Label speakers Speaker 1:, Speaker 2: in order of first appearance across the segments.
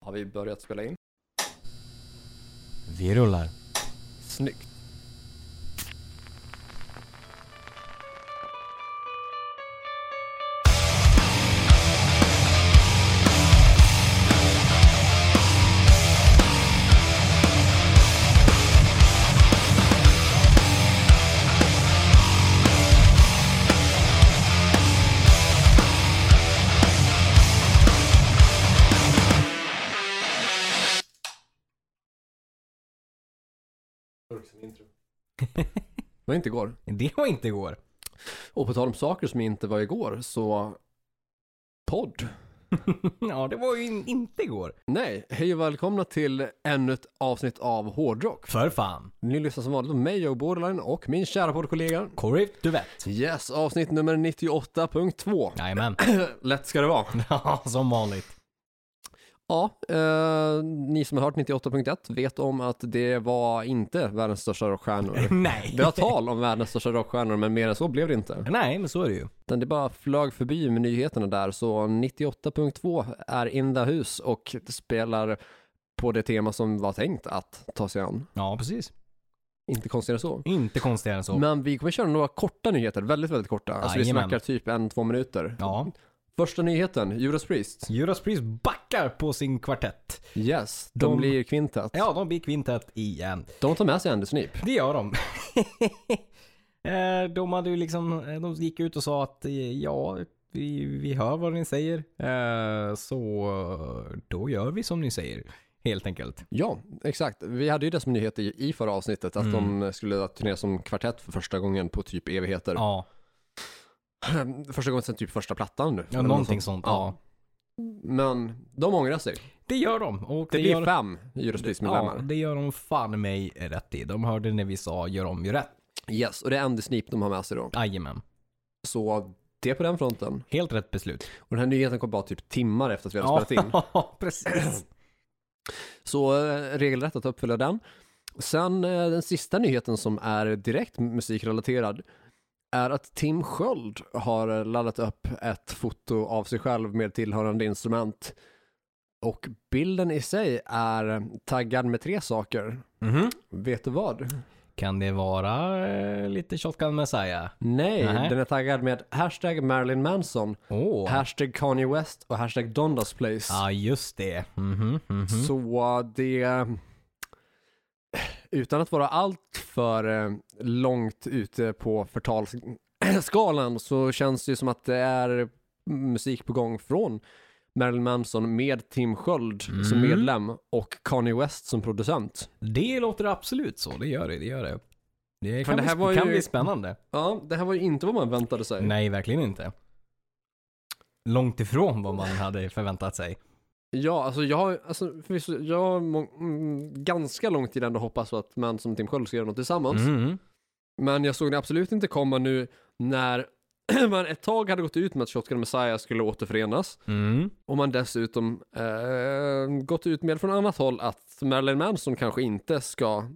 Speaker 1: Har vi börjat spela in?
Speaker 2: Vi rullar.
Speaker 1: Snyggt. Det var inte igår.
Speaker 2: Det var inte igår.
Speaker 1: Och på tal om saker som inte var igår så... Podd.
Speaker 2: ja, det var ju in, inte igår.
Speaker 1: Nej, hej och välkomna till ännu ett avsnitt av Hårdrock.
Speaker 2: För fan.
Speaker 1: Ni lyssnar som vanligt på mig, Joe Borderline och min kära poddkollega.
Speaker 2: Corey Duvett.
Speaker 1: Yes, avsnitt nummer 98.2.
Speaker 2: Jajamän.
Speaker 1: Lätt ska det vara.
Speaker 2: Ja, som vanligt.
Speaker 1: Ja, eh, ni som har hört 98.1 vet om att det var inte världens största rockstjärnor.
Speaker 2: Nej.
Speaker 1: Det var tal om världens största rockstjärnor, men mer än så blev det inte.
Speaker 2: Nej, men så är det ju.
Speaker 1: Utan det bara flög förbi med nyheterna där, så 98.2 är in the hus och spelar på det tema som var tänkt att ta sig an.
Speaker 2: Ja, precis.
Speaker 1: Inte konstigare än så.
Speaker 2: Inte konstigare än så.
Speaker 1: Men vi kommer köra några korta nyheter, väldigt, väldigt korta. Alltså vi
Speaker 2: Jajamän.
Speaker 1: snackar typ en, två minuter.
Speaker 2: Ja.
Speaker 1: Första nyheten, Judas Priest.
Speaker 2: Judas Priest backar på sin kvartett.
Speaker 1: Yes, de,
Speaker 2: De-
Speaker 1: blir kvintet.
Speaker 2: Ja, de blir kvintet igen.
Speaker 1: De tar med sig Andy Snip.
Speaker 2: Det gör de. Eh, de hade ju liksom, eh, de gick ut och sa att eh, ja, vi, vi hör vad ni säger. Eh, Så eh, då gör vi som ni säger. Helt enkelt.
Speaker 1: Ja, exakt. Vi hade ju det som nyhet i, i förra avsnittet, att de skulle turnera som kvartett för första gången på typ evigheter.
Speaker 2: Mm. Ja.
Speaker 1: Första gången sedan typ första plattan nu.
Speaker 2: Ja,
Speaker 1: Eller
Speaker 2: någonting
Speaker 1: något
Speaker 2: sånt.
Speaker 1: Ja.
Speaker 2: Ja.
Speaker 1: Men de ångrar sig.
Speaker 2: Det gör de. Och
Speaker 1: Det,
Speaker 2: det,
Speaker 1: blir
Speaker 2: gör,
Speaker 1: fem Judas
Speaker 2: ja,
Speaker 1: Priest-medlemmar.
Speaker 2: det gör de fan mig rätt i. De hörde när vi sa gör om, gör rätt.
Speaker 1: Yes, och det är Andy Snip de har med sig då.
Speaker 2: Jajamän.
Speaker 1: Så det är på den fronten.
Speaker 2: Helt rätt beslut.
Speaker 1: Och den här nyheten kom bara typ timmar efter att vi hade spelat in.
Speaker 2: Ja, precis.
Speaker 1: Så eh, regelrätt att uppfylla den. Sen eh, den sista nyheten som är direkt musikrelaterad är att Tim Sköld har eh, laddat upp ett foto av sig själv med tillhörande instrument. Och bilden i sig är taggad med tre saker.
Speaker 2: Mhm.
Speaker 1: Vet du vad?
Speaker 2: Kan det vara eh, lite Shotgun Messiah?
Speaker 1: Nej,
Speaker 2: Nähä.
Speaker 1: den är taggad med hashtag Marilyn Manson,
Speaker 2: Åh.
Speaker 1: hashtag Kanye West och hashtag Dondas Place.
Speaker 2: Ja, just det. Mhm, mhm.
Speaker 1: Så det, utan att vara allt för eh, långt ute på förtalsskalan så känns det ju som att det är musik på gång från Marilyn Manson med Tim Sköld som
Speaker 2: Mm.
Speaker 1: medlem och Kanye West som producent.
Speaker 2: Det låter absolut så. Det gör det. Det, gör det. det, kan,
Speaker 1: det här
Speaker 2: bli,
Speaker 1: var
Speaker 2: kan
Speaker 1: ju- Eh.
Speaker 2: bli spännande.
Speaker 1: Ja, det här var ju inte vad man väntade sig.
Speaker 2: Nej, verkligen inte. Långt ifrån vad man hade förväntat sig.
Speaker 1: Ja, alltså jag har, alltså, förvisso, jag har må- mm, ganska lång tid ändå hoppats på att man som Tim Sköld ska göra något tillsammans.
Speaker 2: Mhm.
Speaker 1: Men jag såg det absolut inte komma nu när man ett tag hade gått ut med att Shotgun Messiah skulle återförenas
Speaker 2: Mm.
Speaker 1: och man dessutom eh, gått ut med från annat håll att Marilyn Manson kanske inte ska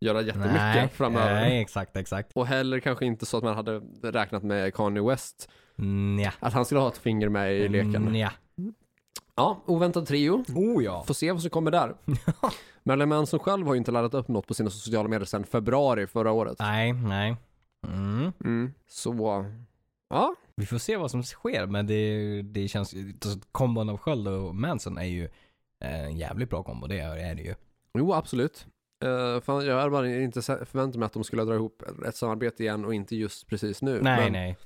Speaker 1: göra jättemycket
Speaker 2: Nej,
Speaker 1: framöver.
Speaker 2: Nej, exakt, exakt.
Speaker 1: Och heller kanske inte så att man hade räknat med Kanye West,
Speaker 2: Nja.
Speaker 1: att han skulle ha ett finger med i leken.
Speaker 2: Mm, Nja.
Speaker 1: Ja, oväntad trio.
Speaker 2: Oh ja.
Speaker 1: Får se vad som kommer där. Marilyn Manson själv har ju inte laddat upp något på sina sociala medier sedan februari förra året.
Speaker 2: Nej, nej. Mm.
Speaker 1: Mm. Så, ja,
Speaker 2: Vi får se vad som sker, men det, det känns ju... alltså, Kombon av Sköld och Manson är ju eh, en jävligt bra kombo, det är det ju.
Speaker 1: Jo, absolut. Eh, fan, jag hade bara inte se- förväntat mig att de skulle dra ihop ett samarbete igen och inte just precis nu.
Speaker 2: Nej,
Speaker 1: Men,
Speaker 2: nej.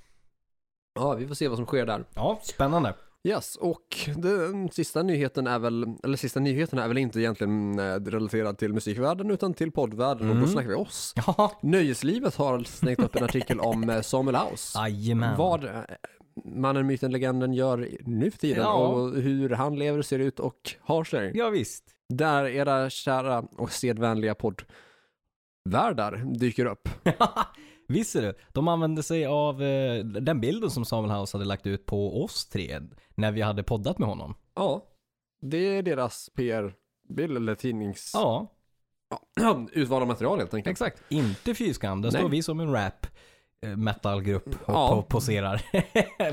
Speaker 1: Ja, vi får se vad som sker där.
Speaker 2: Ja, spännande.
Speaker 1: Yes, och den sista nyheten är väl, eller sista nyheten är väl inte egentligen eh, relaterad till musikvärlden utan till poddvärlden och
Speaker 2: Mm.
Speaker 1: då snackar vi oss.
Speaker 2: Ja.
Speaker 1: Nöjeslivet har slängt upp en artikel om eh, Samuel
Speaker 2: Ah.
Speaker 1: House.
Speaker 2: Jajamän.
Speaker 1: Vad eh, mannen, myten, legenden gör i- nu för tiden
Speaker 2: Ja.
Speaker 1: och hur han lever, ser ut och har sig.
Speaker 2: Ja, visst.
Speaker 1: där era kära och sedvänliga poddvärdar dyker upp.
Speaker 2: Visst är det. De använde sig av eh, den bilden som Samuel House hade lagt ut på oss tre när vi hade poddat med honom.
Speaker 1: Ja, det är deras PR-bild eller tidnings...
Speaker 2: Ja,
Speaker 1: Ja. Utvalda material helt enkelt.
Speaker 2: exakt. Inte fyskam. Där
Speaker 1: Nej.
Speaker 2: står vi som en rap eh, metalgrupp och
Speaker 1: Ja.
Speaker 2: po- poserar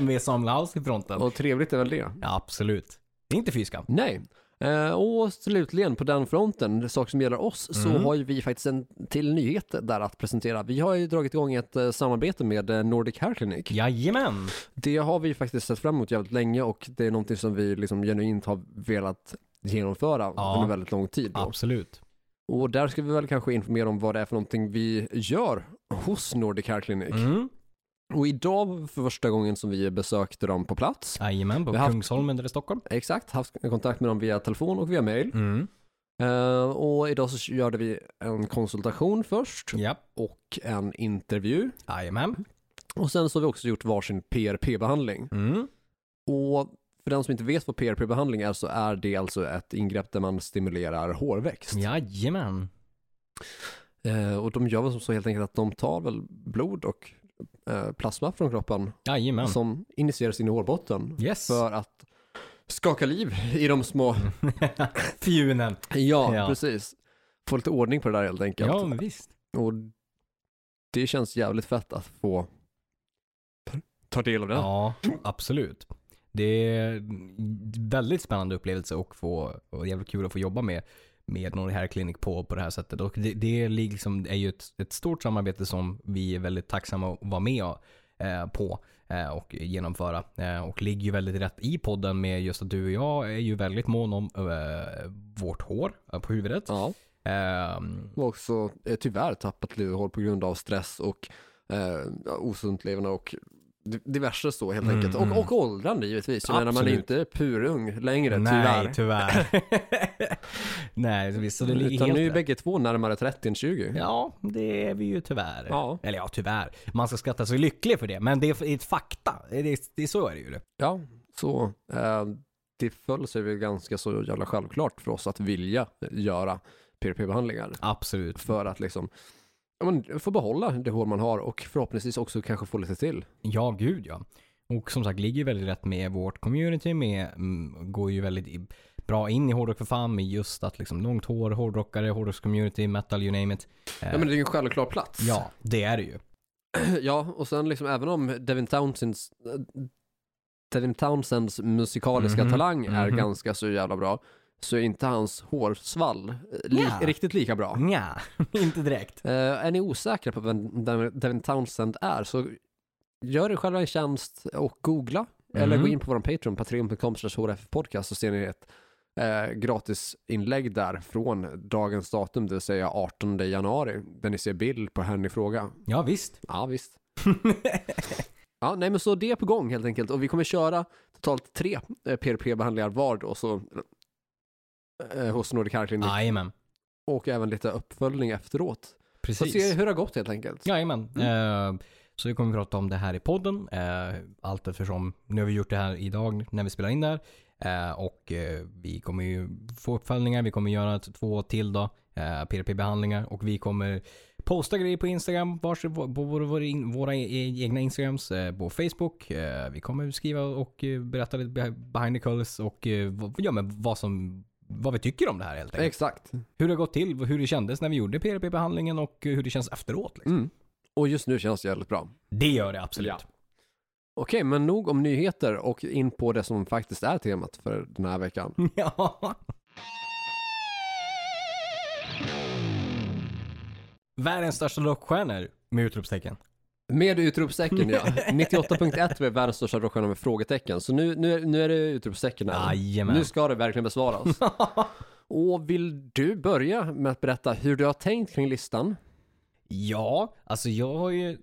Speaker 2: med Samuel House i fronten.
Speaker 1: Och trevligt är väl det?
Speaker 2: Ja, absolut. Det är inte fyskam.
Speaker 1: Nej. Eh, och slutligen på den fronten, saker som gäller oss, så
Speaker 2: Mm.
Speaker 1: har ju vi faktiskt en till nyhet där att presentera. Vi har ju dragit igång ett eh, samarbete med eh, Nordic Hair Clinic.
Speaker 2: Jajamän!
Speaker 1: Det har vi faktiskt sett fram emot jävligt länge och det är någonting som vi liksom genuint har velat genomföra
Speaker 2: Ja.
Speaker 1: under väldigt lång tid. då.
Speaker 2: Absolut.
Speaker 1: Och där ska vi väl kanske informera om vad det är för någonting vi gör hos Nordic Hair Clinic.
Speaker 2: Mm.
Speaker 1: Och idag för första gången som vi besökte dem på plats,
Speaker 2: Jajamän, på
Speaker 1: Vi har haft-
Speaker 2: Kungsholmen eller Stockholm.
Speaker 1: exakt, haft kontakt med dem via telefon och via mail.
Speaker 2: Mm.
Speaker 1: Eh, och idag så gjorde vi en konsultation först
Speaker 2: Ja.
Speaker 1: och en intervju.
Speaker 2: Jajamän.
Speaker 1: Och sen så har vi också gjort varsin PRP-behandling.
Speaker 2: Mm.
Speaker 1: Och för den som inte vet vad PRP-behandling är så är det alltså ett ingrepp där man stimulerar hårväxt.
Speaker 2: Jajamän. Mm.
Speaker 1: Eh, och de gör väl som så helt enkelt att de tar väl blod och eh, plasma från kroppen
Speaker 2: Jajamän.
Speaker 1: som injiceras in i hårbotten
Speaker 2: Mm. Yes.
Speaker 1: för att skaka liv i de små,
Speaker 2: Fjunen.
Speaker 1: ja,
Speaker 2: Mm. Ja.
Speaker 1: precis. Få lite ordning på det där helt enkelt.
Speaker 2: Ja, men visst.
Speaker 1: Och det känns jävligt fett att få ta del av det.
Speaker 2: Ja, absolut. Det är en väldigt spännande upplevelse och, få, och jävligt kul att få jobba med, med någon här klinik på, på det här sättet. Och det, det är, liksom, är ju ett, ett stort samarbete som vi är väldigt tacksamma att vara med eh, på eh, och genomföra. Eh, och ligger ju väldigt rätt i podden med just att du och jag är ju väldigt mån om eh, vårt hår eh, på huvudet.
Speaker 1: Ja.
Speaker 2: Ehm,
Speaker 1: Och också eh, tyvärr tappat luvhål på grund av stress och eh, ja, osunt leverne och di- diverse så helt
Speaker 2: Mm,
Speaker 1: enkelt.
Speaker 2: mm.
Speaker 1: Och, och åldrande givetvis. Jag menar man är
Speaker 2: Absolut.
Speaker 1: inte purung längre
Speaker 2: Nej,
Speaker 1: tyvärr.
Speaker 2: tyvärr. Nej, visst. Så det ligger
Speaker 1: Utan
Speaker 2: helt
Speaker 1: nu är
Speaker 2: rätt.
Speaker 1: bägge två närmare 30 än 20.
Speaker 2: Ja, det är vi ju tyvärr.
Speaker 1: Ja.
Speaker 2: Eller ja, tyvärr. Man ska skratta sig lycklig för det, men det är ett fakta. Det är, det är så är det ju.
Speaker 1: Ja, så eh, det föll sig väl ganska så jävla självklart för oss att vilja göra PRP-behandlingar.
Speaker 2: Absolut.
Speaker 1: För att liksom ja, men, få behålla det hår man har och förhoppningsvis också kanske få lite till.
Speaker 2: Ja, gud ja. Och som sagt, ligger ju väldigt rätt med vårt community, med, mm, går ju väldigt i- bra in i hårdrock för fan med just att liksom långt hår, hårdrockare, hårdrockscommunity, metal, you name it. Eh,
Speaker 1: Ja, men det är ju en självklar plats.
Speaker 2: ja, det är det ju.
Speaker 1: Ja, och sen liksom även om Devin Townsends, Devin Townsends musikaliska
Speaker 2: Mhm,
Speaker 1: talang är
Speaker 2: mhm.
Speaker 1: ganska så jävla bra, så är inte hans hårsvall eh, li-
Speaker 2: Ja.
Speaker 1: riktigt lika bra.
Speaker 2: Nja, inte direkt.
Speaker 1: Eh, är ni osäkra på vem Devin- Devin Townsend är, så gör er själva en tjänst och googla, eller
Speaker 2: Mhm.
Speaker 1: gå in på vår Patreon, patreon.com podcast så ser ni ett eh, gratisinlägg där från dagens datum, det vill säga 18 januari, där ni ser bild på henne i fråga.
Speaker 2: Ja, visst.
Speaker 1: Ja, visst. ja, nej men så det är på gång helt enkelt. Och vi kommer köra totalt tre eh, PRP-behandlingar var då, så eh, hos Nordic Hair Clinic
Speaker 2: Jajamän,
Speaker 1: och även lite uppföljning efteråt. Så
Speaker 2: precis.
Speaker 1: se hur det har gått helt enkelt.
Speaker 2: Jajamän. Eh, så vi kommer prata om det här i podden. Eh, allt eftersom, nu har vi gjort det här idag när vi spelar in där. Eh, och eh, vi kommer ju få uppföljningar. Vi kommer göra t- två till då. Eh, PRP-behandlingar. Och vi kommer posta grejer på Instagram. Vars, på vår, vår, in, våra e- egna Instagrams. Eh, på Facebook. Eh, vi kommer skriva och eh, berätta lite beh- behind the colors. Och eh, vad- ja, men vad som vad vi tycker om det här helt enkelt.
Speaker 1: Exakt.
Speaker 2: Hur det har gått till, hur det kändes när vi gjorde PRP-behandlingen och eh, hur det känns efteråt. Liksom.
Speaker 1: Mm. Och just nu känns det jävligt bra.
Speaker 2: Det gör det absolut.
Speaker 1: Ja. Okej, men nog om nyheter och in på det som faktiskt är temat för den här veckan.
Speaker 2: Ja. Världens största rockstjärnor med utropstecken.
Speaker 1: Med utropstecken ja. 98.1 är världens största rockstjärna med frågetecken. Så nu, nu, är- nu är det utropstecken här.
Speaker 2: Jajamän.
Speaker 1: Nu ska det verkligen besvaras. Och vill du börja med att berätta hur du har tänkt kring listan?
Speaker 2: Ja, alltså jag har ju...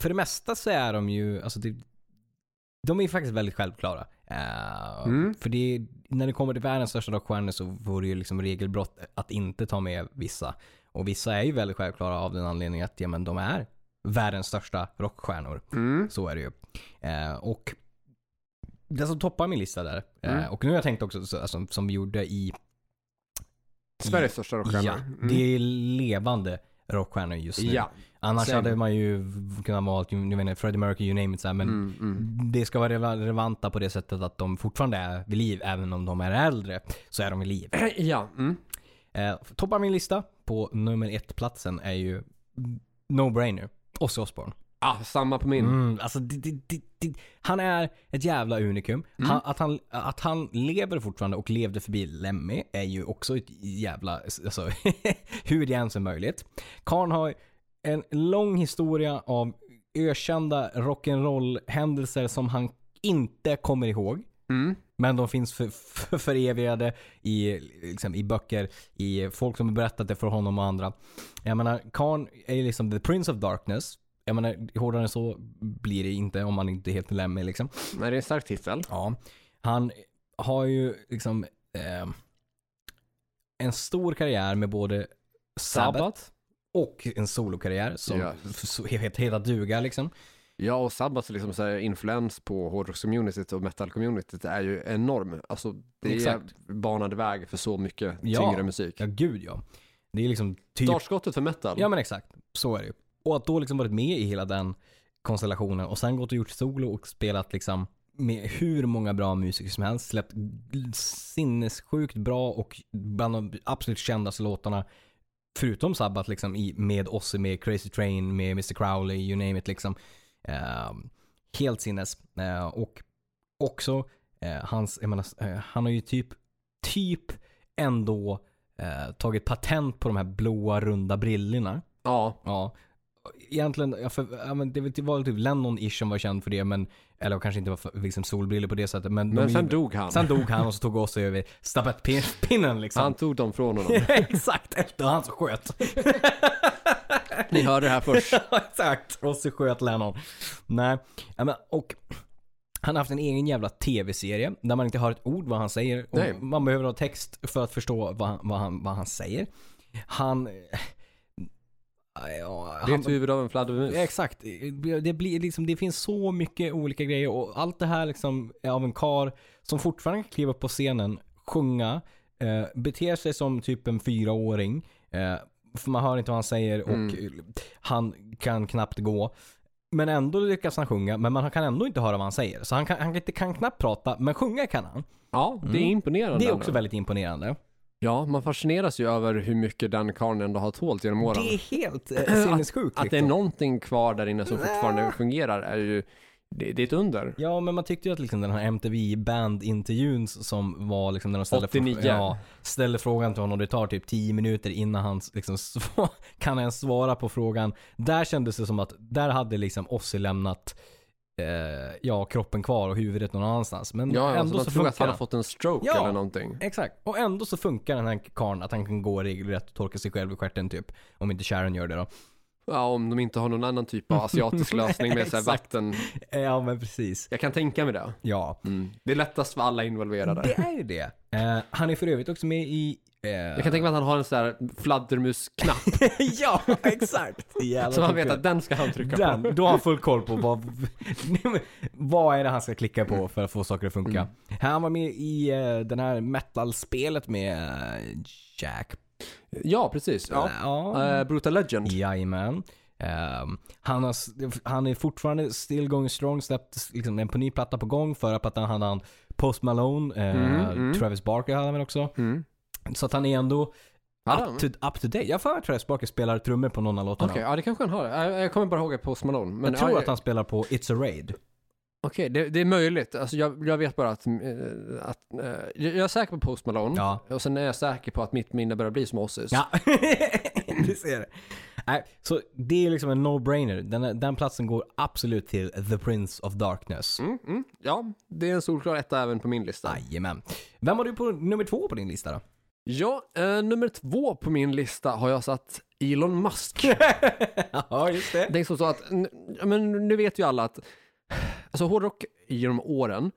Speaker 2: För det mesta så är de ju, alltså det, de är ju faktiskt väldigt självklara. Eh,
Speaker 1: Mm.
Speaker 2: För det, när det kommer till världens största rockstjärnor så vore det ju liksom regelbrott att inte ta med vissa. Och vissa är ju väldigt självklara av den anledningen att ja, men de är världens största rockstjärnor.
Speaker 1: Mm.
Speaker 2: Så är det ju. Eh, och det som toppar min lista där, eh,
Speaker 1: Mm.
Speaker 2: och nu har jag tänkt också, så, alltså, som vi gjorde i,
Speaker 1: Sveriges största rockstjärna. Mm.
Speaker 2: ja, det är levande rockstjärnor just nu.
Speaker 1: ja.
Speaker 2: Annars
Speaker 1: Same.
Speaker 2: hade man ju kunnat valt, jag vet inte, Freddie Mercury, you name it, så här, men
Speaker 1: Mm, mm.
Speaker 2: det ska vara rele- relevanta på det sättet att de fortfarande är vid liv, även om de är äldre, så är de vid liv.
Speaker 1: ja. Mm.
Speaker 2: Eh, toppar min lista på nummer ett-platsen är ju No Brainer, Ozzy Osbourne.
Speaker 1: Ja, Ah, samma på min.
Speaker 2: Mm, alltså, det, det, det, det, han är ett jävla unikum. Han, att, han, att han lever fortfarande och levde förbi Lemmy är ju också ett jävla... Alltså, hur det ens är möjligt. Karn har en lång historia av ökända rock'n'roll-händelser som han inte kommer ihåg.
Speaker 1: Mm.
Speaker 2: Men de finns för, för, förevigade i, liksom, i böcker, i folk som har berättat det för honom och andra. Jag menar, Khan är ju liksom the prince of darkness. Jag menar, hårdare än så blir det inte om man inte är helt lämmer liksom.
Speaker 1: Nej, det är en stark titel.
Speaker 2: Ja. Han har ju liksom eh, en stor karriär med både Sabbath, och en solokarriär som
Speaker 1: Ja.
Speaker 2: så, helt, hela duga liksom.
Speaker 1: Ja, och Sabbats liksom så här influens på hårdrockscommunityt och metal-communityt är ju enorm. Alltså, det
Speaker 2: Exakt.
Speaker 1: banade väg för så mycket
Speaker 2: Ja.
Speaker 1: tyngre musik.
Speaker 2: Ja, gud ja. Det är liksom typ...
Speaker 1: Startskottet för metal.
Speaker 2: Ja men exakt, så är det ju. Och att då liksom varit med i hela den konstellationen och sen gått och gjort solo och spelat liksom med hur många bra musiker som helst, släppt sinnessjukt bra och bland de absolut kändaste låtarna förutom Sabbath liksom i, med Ozzy, med Crazy Train, med Mr Crowley, you name it liksom. Eh, helt sinnes. Eh, och också eh, hans, jag menar, eh, han har ju typ, typ ändå eh, tagit patent på de här blåa runda brillorna.
Speaker 1: ja.
Speaker 2: Ja. Egentligen, ja, för, ja, men det var- det var väl typ Lennon-ish som var känd för det, men, eller kanske inte var för, liksom solbriller på det sättet. Men, de är
Speaker 1: Men
Speaker 2: ju-
Speaker 1: sen dog han.
Speaker 2: sen dog han och så tog oss över stafettpinnen liksom.
Speaker 1: Han tog dem från honom.
Speaker 2: Exakt, efter han så sköt.
Speaker 1: Ni hörde det här först.
Speaker 2: Exakt, och så sköt Lennon. Nej, ja, men, och han har haft en egen jävla tv-serie där man inte hör ett ord vad han säger. Och
Speaker 1: Nej.
Speaker 2: Man behöver ha text för att förstå vad han, vad han, vad han säger. Han... Ja,
Speaker 1: Det är
Speaker 2: han
Speaker 1: ett huvud av en fladdermus.
Speaker 2: Exakt. Det, blir, liksom, det finns så mycket olika grejer och allt det här liksom är av en kar som fortfarande kan kliva upp på scenen, sjunga, eh, bete sig som typ en fyraåring. Eh, för man hör inte vad han säger och
Speaker 1: Mm.
Speaker 2: han kan knappt gå. Men ändå lyckas han sjunga, men man kan ändå inte höra vad han säger. Så han kan, han inte- kan knappt prata, men sjunga kan han.
Speaker 1: Ja, det är imponerande.
Speaker 2: Mm. Det är
Speaker 1: ändå.
Speaker 2: också väldigt imponerande.
Speaker 1: Ja, man fascineras ju över hur mycket den karln ändå har tålt genom åren.
Speaker 2: Det är helt eh, sinnessjukt.
Speaker 1: Att det är
Speaker 2: liksom.
Speaker 1: någonting kvar där inne som fortfarande fungerar är ju, det, det är ett under.
Speaker 2: Ja, men man tyckte ju att liksom den här MTV-band-intervjun som var liksom när de ställde,
Speaker 1: 89.
Speaker 2: ja, ställde frågan till honom. Det tar typ 10 minuter innan han s- liksom sva- kan ens svara på frågan. Där kändes det som att där hade liksom Ossi lämnat eh, ja, kroppen kvar och huvudet någon annanstans. Men
Speaker 1: Ja,
Speaker 2: ändå
Speaker 1: alltså, man
Speaker 2: så
Speaker 1: tror
Speaker 2: funkar
Speaker 1: att han har
Speaker 2: den.
Speaker 1: fått en stroke
Speaker 2: Ja.
Speaker 1: eller någonting.
Speaker 2: Exakt. Och ändå så funkar den här karln att han kan gå regelrätt och torka sig själv i stjärten typ. Om inte Sharon gör det då.
Speaker 1: Ja, om de inte har någon annan typ av asiatisk lösning med så här
Speaker 2: Exakt.
Speaker 1: vatten.
Speaker 2: Eh, Ja, men precis.
Speaker 1: Jag kan tänka mig det.
Speaker 2: Ja.
Speaker 1: Mm. Det är lättast för alla involverade.
Speaker 2: Det är ju det. Eh, han är för övrigt också med i... eh,
Speaker 1: Jag kan tänka mig att han har en sån här fladdermusknapp
Speaker 2: ja, exakt. Jävla
Speaker 1: så man vet
Speaker 2: tokigt.
Speaker 1: att den ska han trycka på.
Speaker 2: den, då har han full koll på vad, Nej, men vad är det han ska klicka på för att få saker att funka.
Speaker 1: Mm.
Speaker 2: Han var med i eh, den här metal-spelet med eh, Jack.
Speaker 1: Ja, precis. Ja.
Speaker 2: Ja.
Speaker 1: Eh, Brutal Legend.
Speaker 2: Jajamän. Ehm, han, har, s- han är fortfarande still going strong, släppt liksom, en på ny platta på gång. Förra plattan hade han Post Malone, eh,
Speaker 1: Mm, mm.
Speaker 2: Travis Barker hade han väl också.
Speaker 1: Mm.
Speaker 2: Så att han är ändå
Speaker 1: Hade
Speaker 2: up
Speaker 1: han?
Speaker 2: to, up to date. Jag har för mig att Travis Barker spelar trummor på någon av låtarna.
Speaker 1: Okej, ja det kanske han har. Eh, Jag, jag kommer bara ihåg det på Malone. Men
Speaker 2: jag tror
Speaker 1: ja, Mm.
Speaker 2: att han spelar på It's a Raid.
Speaker 1: Okej, det, det är möjligt. Alltså jag, jag vet bara att, eh, att eh, jag jag är säker på Post Malone.
Speaker 2: Ja.
Speaker 1: Och sen är jag säker på att mitt minne börjar bli som Ossis.
Speaker 2: Ja, du ser det. Nej, så det är liksom en no-brainer. Den, den platsen går absolut till The Prince of Darkness.
Speaker 1: Mm, mm, ja, det är en solklar etta även på min lista.
Speaker 2: Jajamän. Vem har du på nummer två på din lista då?
Speaker 1: Ja, eh, nummer två på min lista har jag satt Elon Musk.
Speaker 2: ja, just det.
Speaker 1: Det är som så att, n- ja, men nu vet ju alla att, alltså hårdrock genom åren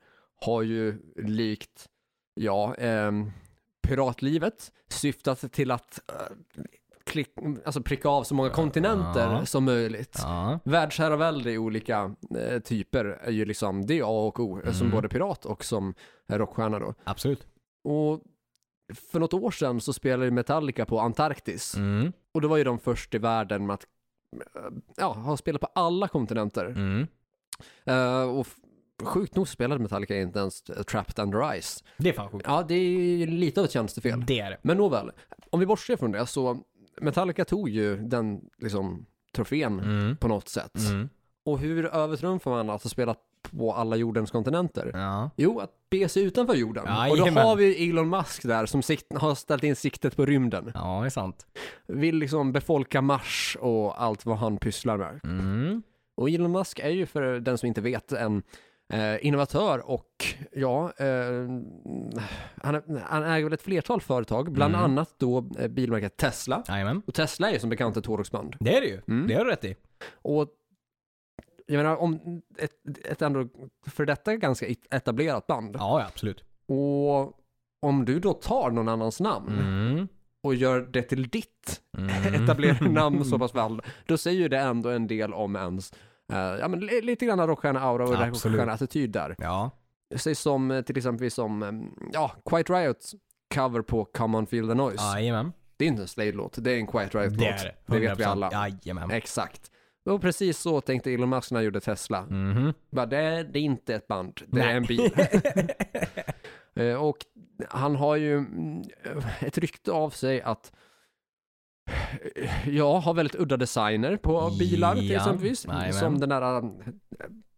Speaker 1: har ju likt, ja, ehm, piratlivet syftat till att eh, klick, alltså pricka av så många kontinenter
Speaker 2: Ja.
Speaker 1: som möjligt.
Speaker 2: Ja,
Speaker 1: Världsherravälde i olika eh, typer är ju liksom, det är A och O, eh, som både pirat och som rockstjärna då.
Speaker 2: absolut.
Speaker 1: Och för något år sedan så spelade ju Metallica på Antarktis.
Speaker 2: Mm,
Speaker 1: Och då var ju de först i världen med att eh, ja, ha spelat på alla kontinenter.
Speaker 2: mm.
Speaker 1: Eh, och f- sjukt nog spelade Metallica inte ens eh, Trapped Under Ice.
Speaker 2: Det är fan sjukt.
Speaker 1: Ja, det är ju lite av ett tjänstefel.
Speaker 2: Det är det.
Speaker 1: Men nåväl, om vi bortser från det så Metallica tog ju den liksom trofén
Speaker 2: Mm,
Speaker 1: på något sätt.
Speaker 2: mm.
Speaker 1: Och hur övertrumfar man att ha spelat på alla jordens kontinenter?
Speaker 2: Ja.
Speaker 1: Jo, att bege sig utanför jorden.
Speaker 2: Ja,
Speaker 1: och då
Speaker 2: jajamän.
Speaker 1: har vi Elon Musk där som sikt- har ställt in siktet på rymden.
Speaker 2: Ja, det är sant.
Speaker 1: Vill liksom befolka Mars och allt vad han pysslar med.
Speaker 2: Mm.
Speaker 1: Och Elon Musk är ju för den som inte vet en eh, innovatör och ja, eh, han, är- han äger väl ett flertal företag, bland
Speaker 2: Mm.
Speaker 1: annat då eh, bilmärket Tesla.
Speaker 2: Jajamän.
Speaker 1: Och Tesla är ju som bekant ett hårdrocksband.
Speaker 2: Det är det ju.
Speaker 1: Mm.
Speaker 2: Det har du rätt i.
Speaker 1: Och jag menar, om ett, ett ändå för detta ganska e-, etablerat band.
Speaker 2: Ja, ja absolut.
Speaker 1: Och om du då tar någon annans namn
Speaker 2: Mm.
Speaker 1: och gör det till ditt
Speaker 2: Mm.
Speaker 1: etablerade namn så pass väl, då säger ju det ändå en del om ens eh, ja, men li- lite grann rockstjärna-aura och
Speaker 2: Absolut.
Speaker 1: rockstjärna-attityd där.
Speaker 2: Ja.
Speaker 1: Säg som eh, till exempel som, eh, ja, Quiet Riots cover på Come On Feel The Noise.
Speaker 2: Jajamän.
Speaker 1: Det är inte en Slade-låt, det är en Quiet Riot-låt.
Speaker 2: Det är det.
Speaker 1: det vet vi
Speaker 2: 100%.
Speaker 1: alla.
Speaker 2: Jajamän.
Speaker 1: Exakt. Och precis så tänkte Elon Musk när han gjorde Tesla.
Speaker 2: Mhm.
Speaker 1: Bara, det, är, det är inte ett band, det
Speaker 2: Nej.
Speaker 1: är en bil. Eh, och han har ju mm, ett rykte av sig att eh, ja, har väldigt udda designer på bilar till
Speaker 2: Ja,
Speaker 1: exempelvis.
Speaker 2: jajamän.
Speaker 1: Som den där eh,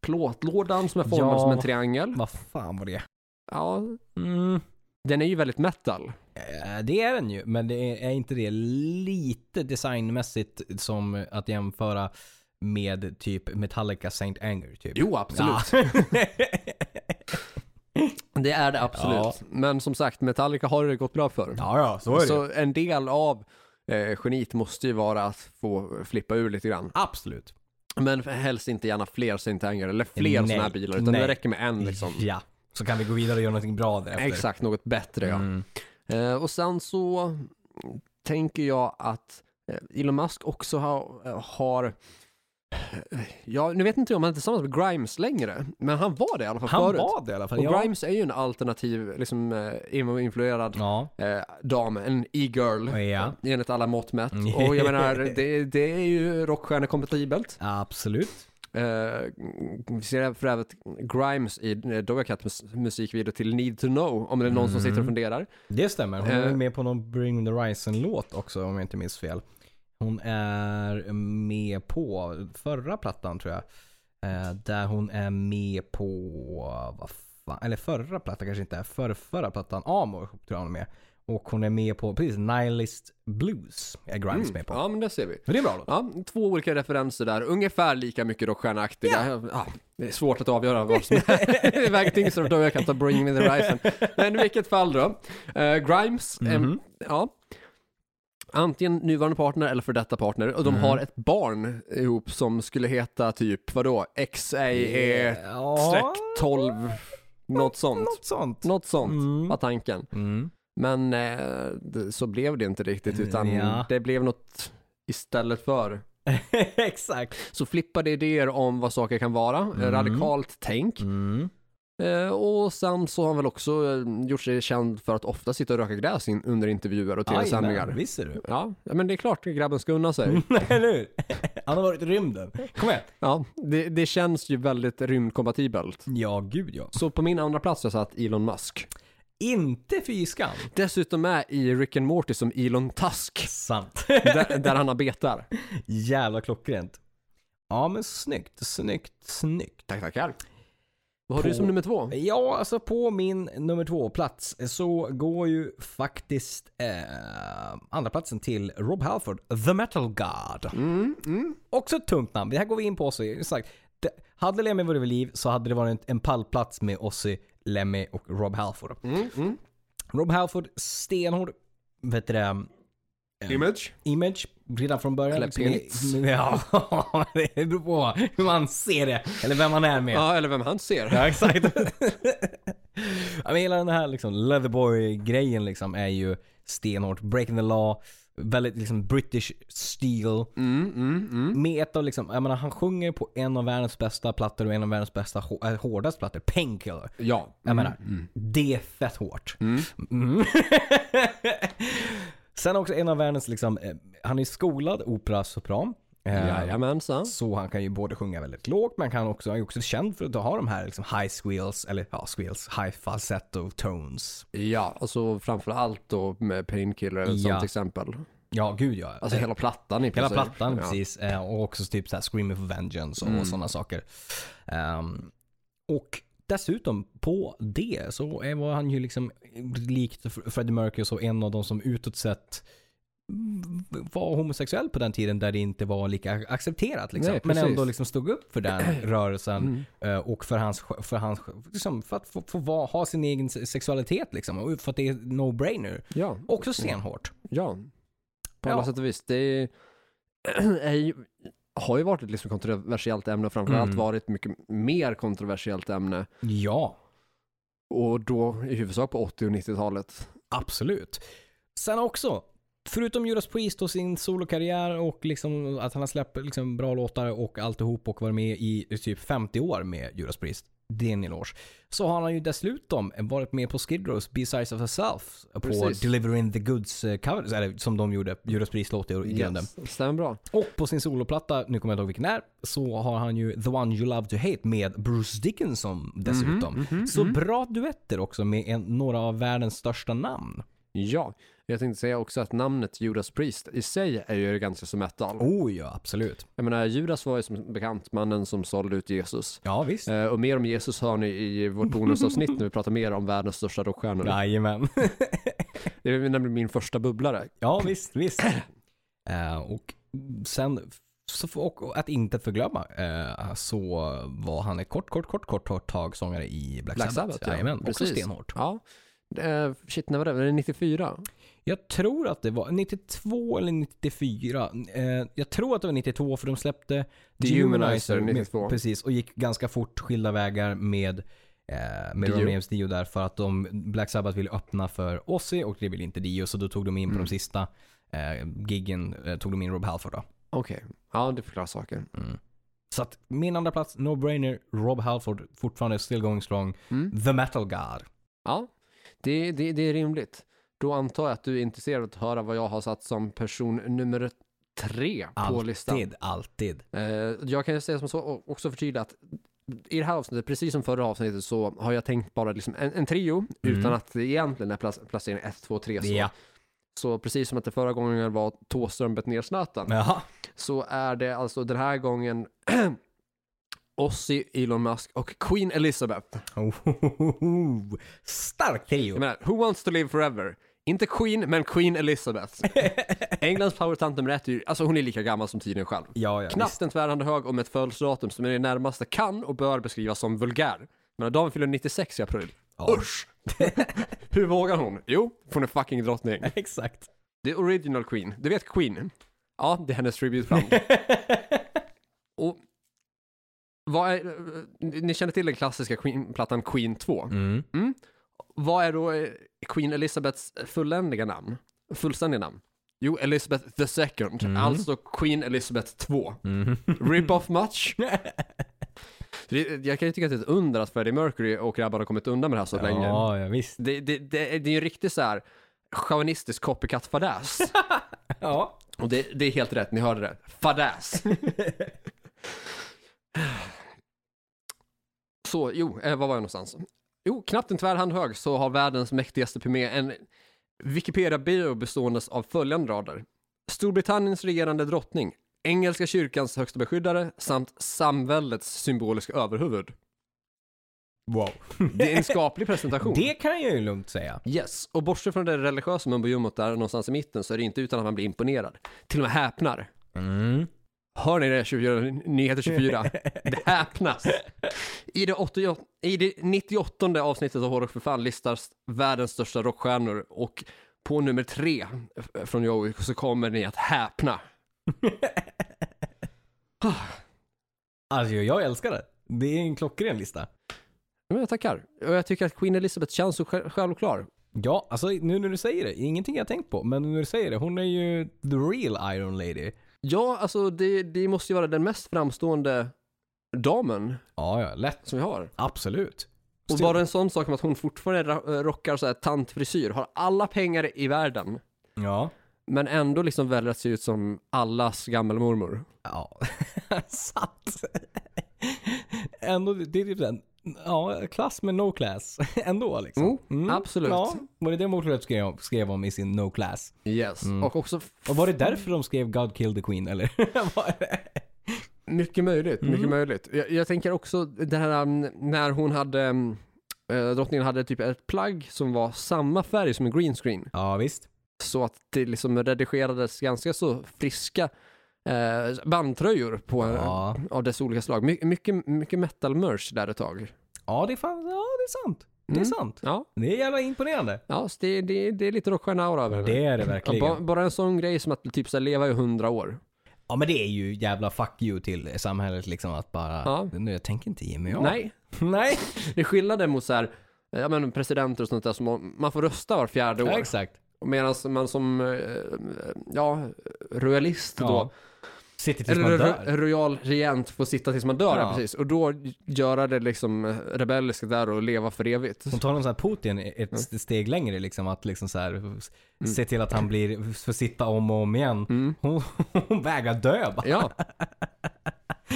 Speaker 1: plåtlådan som är formad
Speaker 2: Ja.
Speaker 1: som en triangel.
Speaker 2: Vad fan var det?
Speaker 1: Ja,
Speaker 2: Mm.
Speaker 1: den är ju väldigt metal.
Speaker 2: Eh, Det är den ju, men det är, är inte det lite designmässigt som att jämföra med typ Metallica Saint Anger? Typ?
Speaker 1: Jo, absolut. Det är det absolut.
Speaker 2: Ja.
Speaker 1: Men som sagt, Metallica har det gått bra för.
Speaker 2: ja, ja, så är det ju.
Speaker 1: Så en del av eh, genit måste ju vara att få flippa ur lite grann.
Speaker 2: Absolut.
Speaker 1: Men helst inte gärna fler Saint-Anger eller fler
Speaker 2: Nej.
Speaker 1: sådana här bilar, utan
Speaker 2: Nej.
Speaker 1: det räcker med en liksom.
Speaker 2: Ja, så kan vi gå vidare och göra någonting bra därefter.
Speaker 1: Exakt, något bättre ja.
Speaker 2: Mm.
Speaker 1: Eh, och sen så tänker jag att eh, Elon Musk också har, eh, har eh, Ja, nu vet inte jag om han är tillsammans med Grimes längre, men han var det i alla fall
Speaker 2: Han
Speaker 1: förut.
Speaker 2: var det i alla fall.
Speaker 1: och
Speaker 2: ja.
Speaker 1: Grimes är ju en alternativ, liksom eh, emo-influerad
Speaker 2: Ja.
Speaker 1: eh, dam, en e-girl.
Speaker 2: Ja.
Speaker 1: Enligt alla mått mätt.
Speaker 2: Mm.
Speaker 1: Och jag menar, det, det är ju rockstjärnekompatibelt.
Speaker 2: Absolut.
Speaker 1: Eh, vi ser för övrigt Grimes i eh, Doja Cat mus- musikvideo till Need to know, om det är någon som sitter och funderar.
Speaker 2: Det stämmer. Hon är
Speaker 1: Eh.
Speaker 2: med på någon Bring the Horizon-låt också om jag inte minns fel. Hon är med på förra plattan tror jag. Eh, Där hon är med på, vad fan, eller förra plattan kanske inte, förra, förra plattan Amor tror jag hon är med. Och hon är med på, precis, Nihilist Blues är Grimes med på.
Speaker 1: Mm. Ja, men det ser vi.
Speaker 2: Men det är bra låt.
Speaker 1: Ja, två olika referenser där, ungefär lika mycket rockstjärneaktiga. Ja. det är svårt att avgöra vad som är väger tyngst av Doja Cat och Bring Me The Horizon. Men i vilket fall då. Eh, Grimes, eh, ja. Antingen nuvarande partner eller för detta partner. Och de har ett barn ihop som skulle heta typ, vadå, E XAE
Speaker 2: Ja,
Speaker 1: streck 12, något sånt.
Speaker 2: något sånt.
Speaker 1: Något sånt
Speaker 2: Mm.
Speaker 1: var tanken.
Speaker 2: Mm.
Speaker 1: Men eh, det- så blev det inte riktigt utan
Speaker 2: Ja.
Speaker 1: det blev något istället för.
Speaker 2: Exakt.
Speaker 1: Så flippade idéer om vad saker kan vara, eh, radikalt tänk.
Speaker 2: Mm.
Speaker 1: Eh, och sen så har han väl också eh, gjort sig känd för att ofta sitta och röka gräs in, under intervjuer och
Speaker 2: Jajamän,
Speaker 1: tv-sändningar.
Speaker 2: Visst Mm. är du.
Speaker 1: Ja, ja, men det är klart grabben ska unna sig.
Speaker 2: Eller hur? Han har varit i rymden. Kom igen.
Speaker 1: Ja, det, det känns ju väldigt rymdkompatibelt.
Speaker 2: Ja, gud ja.
Speaker 1: Så på min andra plats har jag satt Elon Musk.
Speaker 2: Inte fy skam.
Speaker 1: Dessutom med i Rick and Morty som Elon Tusk,
Speaker 2: Sant.
Speaker 1: där, där han arbetar.
Speaker 2: Jävla klockrent. Ja, men snyggt, snyggt, snyggt.
Speaker 1: Tack, tackar. Vad har
Speaker 2: På-
Speaker 1: du som nummer två?
Speaker 2: Ja, alltså på min nummer två-plats så går ju faktiskt eh, andra platsen till Rob Halford, The Metal God.
Speaker 1: Mm, mm.
Speaker 2: Också ett tungt namn. Det här går vi in på Ozzy. Sagt, det, hade Lemmy varit vid liv så hade det varit en pallplats med Ozzy, Lemmy och Rob Halford.
Speaker 1: Mm, mm.
Speaker 2: Rob Halford, stenhård, vet du det,
Speaker 1: Image?
Speaker 2: image redan från början.
Speaker 1: Eller
Speaker 2: Liksom,
Speaker 1: penis.
Speaker 2: Ja, det beror på hur man ser det. Eller vem man är med.
Speaker 1: Ja, eller vem han ser.
Speaker 2: Ja, exakt. ja, men hela den här liksom, Leatherboy-grejen liksom är ju stenhårt. Breaking the law. Väldigt liksom British steel.
Speaker 1: Mm, mm, mm.
Speaker 2: Med ett av liksom, jag menar han sjunger på en av världens bästa plattor och en av världens bästa, hå- äh, hårdaste plattor. Painkiller.
Speaker 1: Ja.
Speaker 2: Jag menar, det är fett hårt. Mm. Sen också en av världens, liksom, eh, han är skolad operasopran. Eh,
Speaker 1: Jajamensan.
Speaker 2: Så han kan ju både sjunga väldigt lågt, men han kan också, han är också känd för att ha de här liksom, high squeals, eller ja, squeals, high falsetto tones.
Speaker 1: Ja, alltså framför allt då med Painkiller som
Speaker 2: Ja.
Speaker 1: till exempel.
Speaker 2: Ja, gud ja.
Speaker 1: Alltså hela plattan i
Speaker 2: Hela
Speaker 1: princip.
Speaker 2: plattan,
Speaker 1: Ja.
Speaker 2: precis. Eh, Och också typ så här Screaming for Vengeance och
Speaker 1: Mm.
Speaker 2: sådana saker. Ehm, och dessutom på det så är- var han ju liksom likt F- Freddie Mercury så en av de som utåt sett mm, var homosexuell på den tiden där det inte var lika ac- accepterat. Liksom.
Speaker 1: Nej,
Speaker 2: Men
Speaker 1: precis.
Speaker 2: ändå liksom stod upp för den rörelsen
Speaker 1: Mm.
Speaker 2: eh, och för, hans, för, hans, liksom, för att få, få vara- ha sin egen se- sexualitet. Liksom, och för att det är no-brainer.
Speaker 1: Ja,
Speaker 2: Också stenhårt.
Speaker 1: ja. På alla
Speaker 2: Ja.
Speaker 1: sätt och vis. Det är, är ju, har ju varit ett liksom kontroversiellt ämne och framförallt
Speaker 2: Mm.
Speaker 1: varit mycket mer kontroversiellt ämne.
Speaker 2: Ja.
Speaker 1: Och då i huvudsak på 80 och 90-talet.
Speaker 2: Absolut. Sen också, förutom Judas Priest och sin solokarriär och liksom att han har släppt liksom bra låtar och alltihop och varit med i typ 50 år med Judas Priest. Det är en eloge. Så har han ju dessutom varit med på Skid Rows B-Sides of Herself på
Speaker 1: Precis.
Speaker 2: Delivering the Goods eh, covers, eller som de gjorde, Judas Priest-låt i grunden.
Speaker 1: Yes, Stämmer bra.
Speaker 2: Och på sin soloplatta, nu kommer jag inte ihåg vilken det är, så har han ju The One You Love To Hate med Bruce Dickinson dessutom. så bra duetter också med en, några av världens största namn.
Speaker 1: Ja, jag tänkte säga också att namnet Judas Priest i sig är ju ganska så metal.
Speaker 2: Oh ja, absolut.
Speaker 1: Jag menar, Judas var ju som bekant mannen som sålde ut Jesus.
Speaker 2: Ja, visst.
Speaker 1: Eh, och mer om Jesus hör ni i vårt bonusavsnitt när vi pratar mer om världens största rockstjärnor.
Speaker 2: Jajamän.
Speaker 1: Det är nämligen min första bubblare.
Speaker 2: ja, visst, visst. Eh, och sen, så, får- och, och att inte förglömma, eh, så var han ett kort, kort, kort, kort, kort tag sångare i Black,
Speaker 1: Black
Speaker 2: Sabbath.
Speaker 1: Sabbath, ja.
Speaker 2: Jajamän, också
Speaker 1: Precis.
Speaker 2: stenhårt.
Speaker 1: Ja. Eh, shit, när var det? Var det 94?
Speaker 2: Jag tror att det var 92 eller 94. Eh, jag tror att det var 92 för de släppte
Speaker 1: The Humanizer
Speaker 2: med-
Speaker 1: 92.
Speaker 2: Precis, och gick ganska fort skilda vägar med eh, med
Speaker 1: Dio.
Speaker 2: Ronny James Dio där för att de, Black Sabbath ville öppna för Ozzy och det ville inte Dio så då tog de in på
Speaker 1: Mm.
Speaker 2: de sista eh, giggen, eh, tog de in Rob Halford då.
Speaker 1: Okej. Ja, det förklarar saker.
Speaker 2: Mm. Så att min andra plats, No Brainer, Rob Halford, fortfarande still going strong,
Speaker 1: Mm.
Speaker 2: The Metal God.
Speaker 1: Ja, det, det, det är rimligt. Då antar jag att du är intresserad av att höra vad jag har satt som person nummer tre på listan.
Speaker 2: Alltid, alltid.
Speaker 1: Eh, jag kan ju säga som så, och också förtydliga att i det här avsnittet, precis som förra avsnittet, så har jag tänkt bara liksom en, en trio utan att det egentligen är plac- placering 1, 2, 3. Så.
Speaker 2: Ja.
Speaker 1: så precis som att det förra gången var Thåström bet ner snöten,
Speaker 2: Jaha.
Speaker 1: så är det alltså den här gången Ozzy, Elon Musk och Queen Elizabeth.
Speaker 2: Oh, Ohohoho. Stark trio.
Speaker 1: Jag menar, who wants to live forever? Inte Queen, men Queen Elizabeth. Englands powertant nummer ett, är ju- alltså hon är lika gammal som tiden själv.
Speaker 2: Ja, ja. visst.
Speaker 1: Knappt en tvärhand hög om ett födelsedatum som i det närmaste kan och bör beskrivas som vulgär. Men damen fyller 96 i april.
Speaker 2: Ja.
Speaker 1: Usch! Hur vågar hon? Jo, hon är fucking drottning.
Speaker 2: Exakt.
Speaker 1: The original Queen. Du vet Queen? Ja, det är hennes tributeband. och vad är, eh, ni känner till den klassiska Queen-plattan Queen 2.
Speaker 2: Mm.
Speaker 1: Vad är då eh, Queen Elizabeths fulländiga namn? Fullständiga namn? Jo, Elizabeth the second.
Speaker 2: Mm.
Speaker 1: Alltså Queen Elizabeth 2.
Speaker 2: Mm.
Speaker 1: Rip off much? Det, jag kan ju tycka att det är ett under att Freddie Mercury och grabbarna har kommit undan med det här så länge.
Speaker 2: Ja, ja visst.
Speaker 1: Det, det, det, är- det är ju en riktig så här chauvinistisk copycat-fadäs.
Speaker 2: Ja.
Speaker 1: och det, det är helt rätt, ni hörde det. Fadäs. så, jo, eh, var var jag någonstans? Jo, knappt en tvärhand hög så har världens mäktigaste pymé en Wikipedia-bio bestående av följande rader. Storbritanniens regerande drottning, engelska kyrkans högsta beskyddare samt samväldets symboliska överhuvud.
Speaker 2: Wow.
Speaker 1: Det är en skaplig presentation.
Speaker 2: Det kan jag ju lugnt säga.
Speaker 1: Yes, och bortsett från det religiösa mumbojummot där någonstans i mitten så är det inte utan att man blir imponerad. Till och med häpnar.
Speaker 2: Mm.
Speaker 1: Hör ni det 24, Nyheter 24? Det häpnas. I det, 88, I det 98 avsnittet av Hårdrock för fan listas världens största rockstjärnor och på nummer tre f- från Joey så kommer ni att häpna.
Speaker 2: Alltså jag älskar det. Det är en klockren lista.
Speaker 1: Men jag tackar. Och jag tycker att Queen Elizabeth känns så själv- självklar.
Speaker 2: Ja, alltså nu när du säger det. Ingenting jag tänkt på. Men nu när du säger det. Hon är ju the real Iron Lady.
Speaker 1: Ja, alltså det, det måste ju vara den mest framstående damen
Speaker 2: Ja, ja. Lätt.
Speaker 1: som vi har.
Speaker 2: Absolut.
Speaker 1: Och
Speaker 2: Still-
Speaker 1: bara en sån sak som att hon fortfarande ra- eh, rockar så här tantfrisyr, har alla pengar i världen,
Speaker 2: Ja.
Speaker 1: men ändå liksom väljer att se ut som allas gammelmormor.
Speaker 2: Ja. Satt. Ändå, det är typ den ja, klass med no class ändå liksom.
Speaker 1: Mm,
Speaker 2: Mm,
Speaker 1: absolut.
Speaker 2: Ja, var det det Motörhead skrev, om- skrev om i sin no class?
Speaker 1: Yes.
Speaker 2: Mm.
Speaker 1: Och också f-
Speaker 2: Och var det därför de skrev God Kill the Queen eller? Var det-
Speaker 1: mycket möjligt.
Speaker 2: Mm.
Speaker 1: Mycket möjligt. Jag, jag tänker också det här um, när hon hade, um, eh, drottningen hade typ ett plagg som var samma färg som en green screen.
Speaker 2: ja, visst.
Speaker 1: Så att det liksom redigerades ganska så friska eh, bandtröjor på,
Speaker 2: Ja.
Speaker 1: av dess olika slag. My, mycket, mycket metal merch där ett tag.
Speaker 2: Ja, det är, fan, ja, det är sant. Det är
Speaker 1: Mm.
Speaker 2: sant.
Speaker 1: Ja,
Speaker 2: Det är jävla imponerande.
Speaker 1: ja så det, det, det är lite rockstjärna-aura över henne.
Speaker 2: Det är det
Speaker 1: Ja, ba,
Speaker 2: verkligen.
Speaker 1: bara en sån grej som att typ så här, leva i hundra år.
Speaker 2: Ja men det är ju jävla fuck you till samhället liksom att bara,
Speaker 1: Ja.
Speaker 2: nu jag tänker inte ge mig av.
Speaker 1: Nej,
Speaker 2: Nej.
Speaker 1: det är skillnaden mot så här, eh, ja, men presidenter och sånt där som man får rösta var fjärde
Speaker 2: Ja,
Speaker 1: år.
Speaker 2: exakt.
Speaker 1: Medan man som, eh, ja, royalist då,
Speaker 2: Ja. Sitter tills man
Speaker 1: Eller
Speaker 2: dör.
Speaker 1: ro- rojal regent får sitta tills man dör,
Speaker 2: Ja.
Speaker 1: ja. precis. Och då göra det liksom eh, rebelliska där och leva för evigt.
Speaker 2: De tar någon sån här Putin
Speaker 1: Mm.
Speaker 2: ett st- steg längre liksom att liksom så här, s- se till att han blir, får sitta om och om igen. Hon, hon vägrar dö bara.
Speaker 1: Mm. Ja.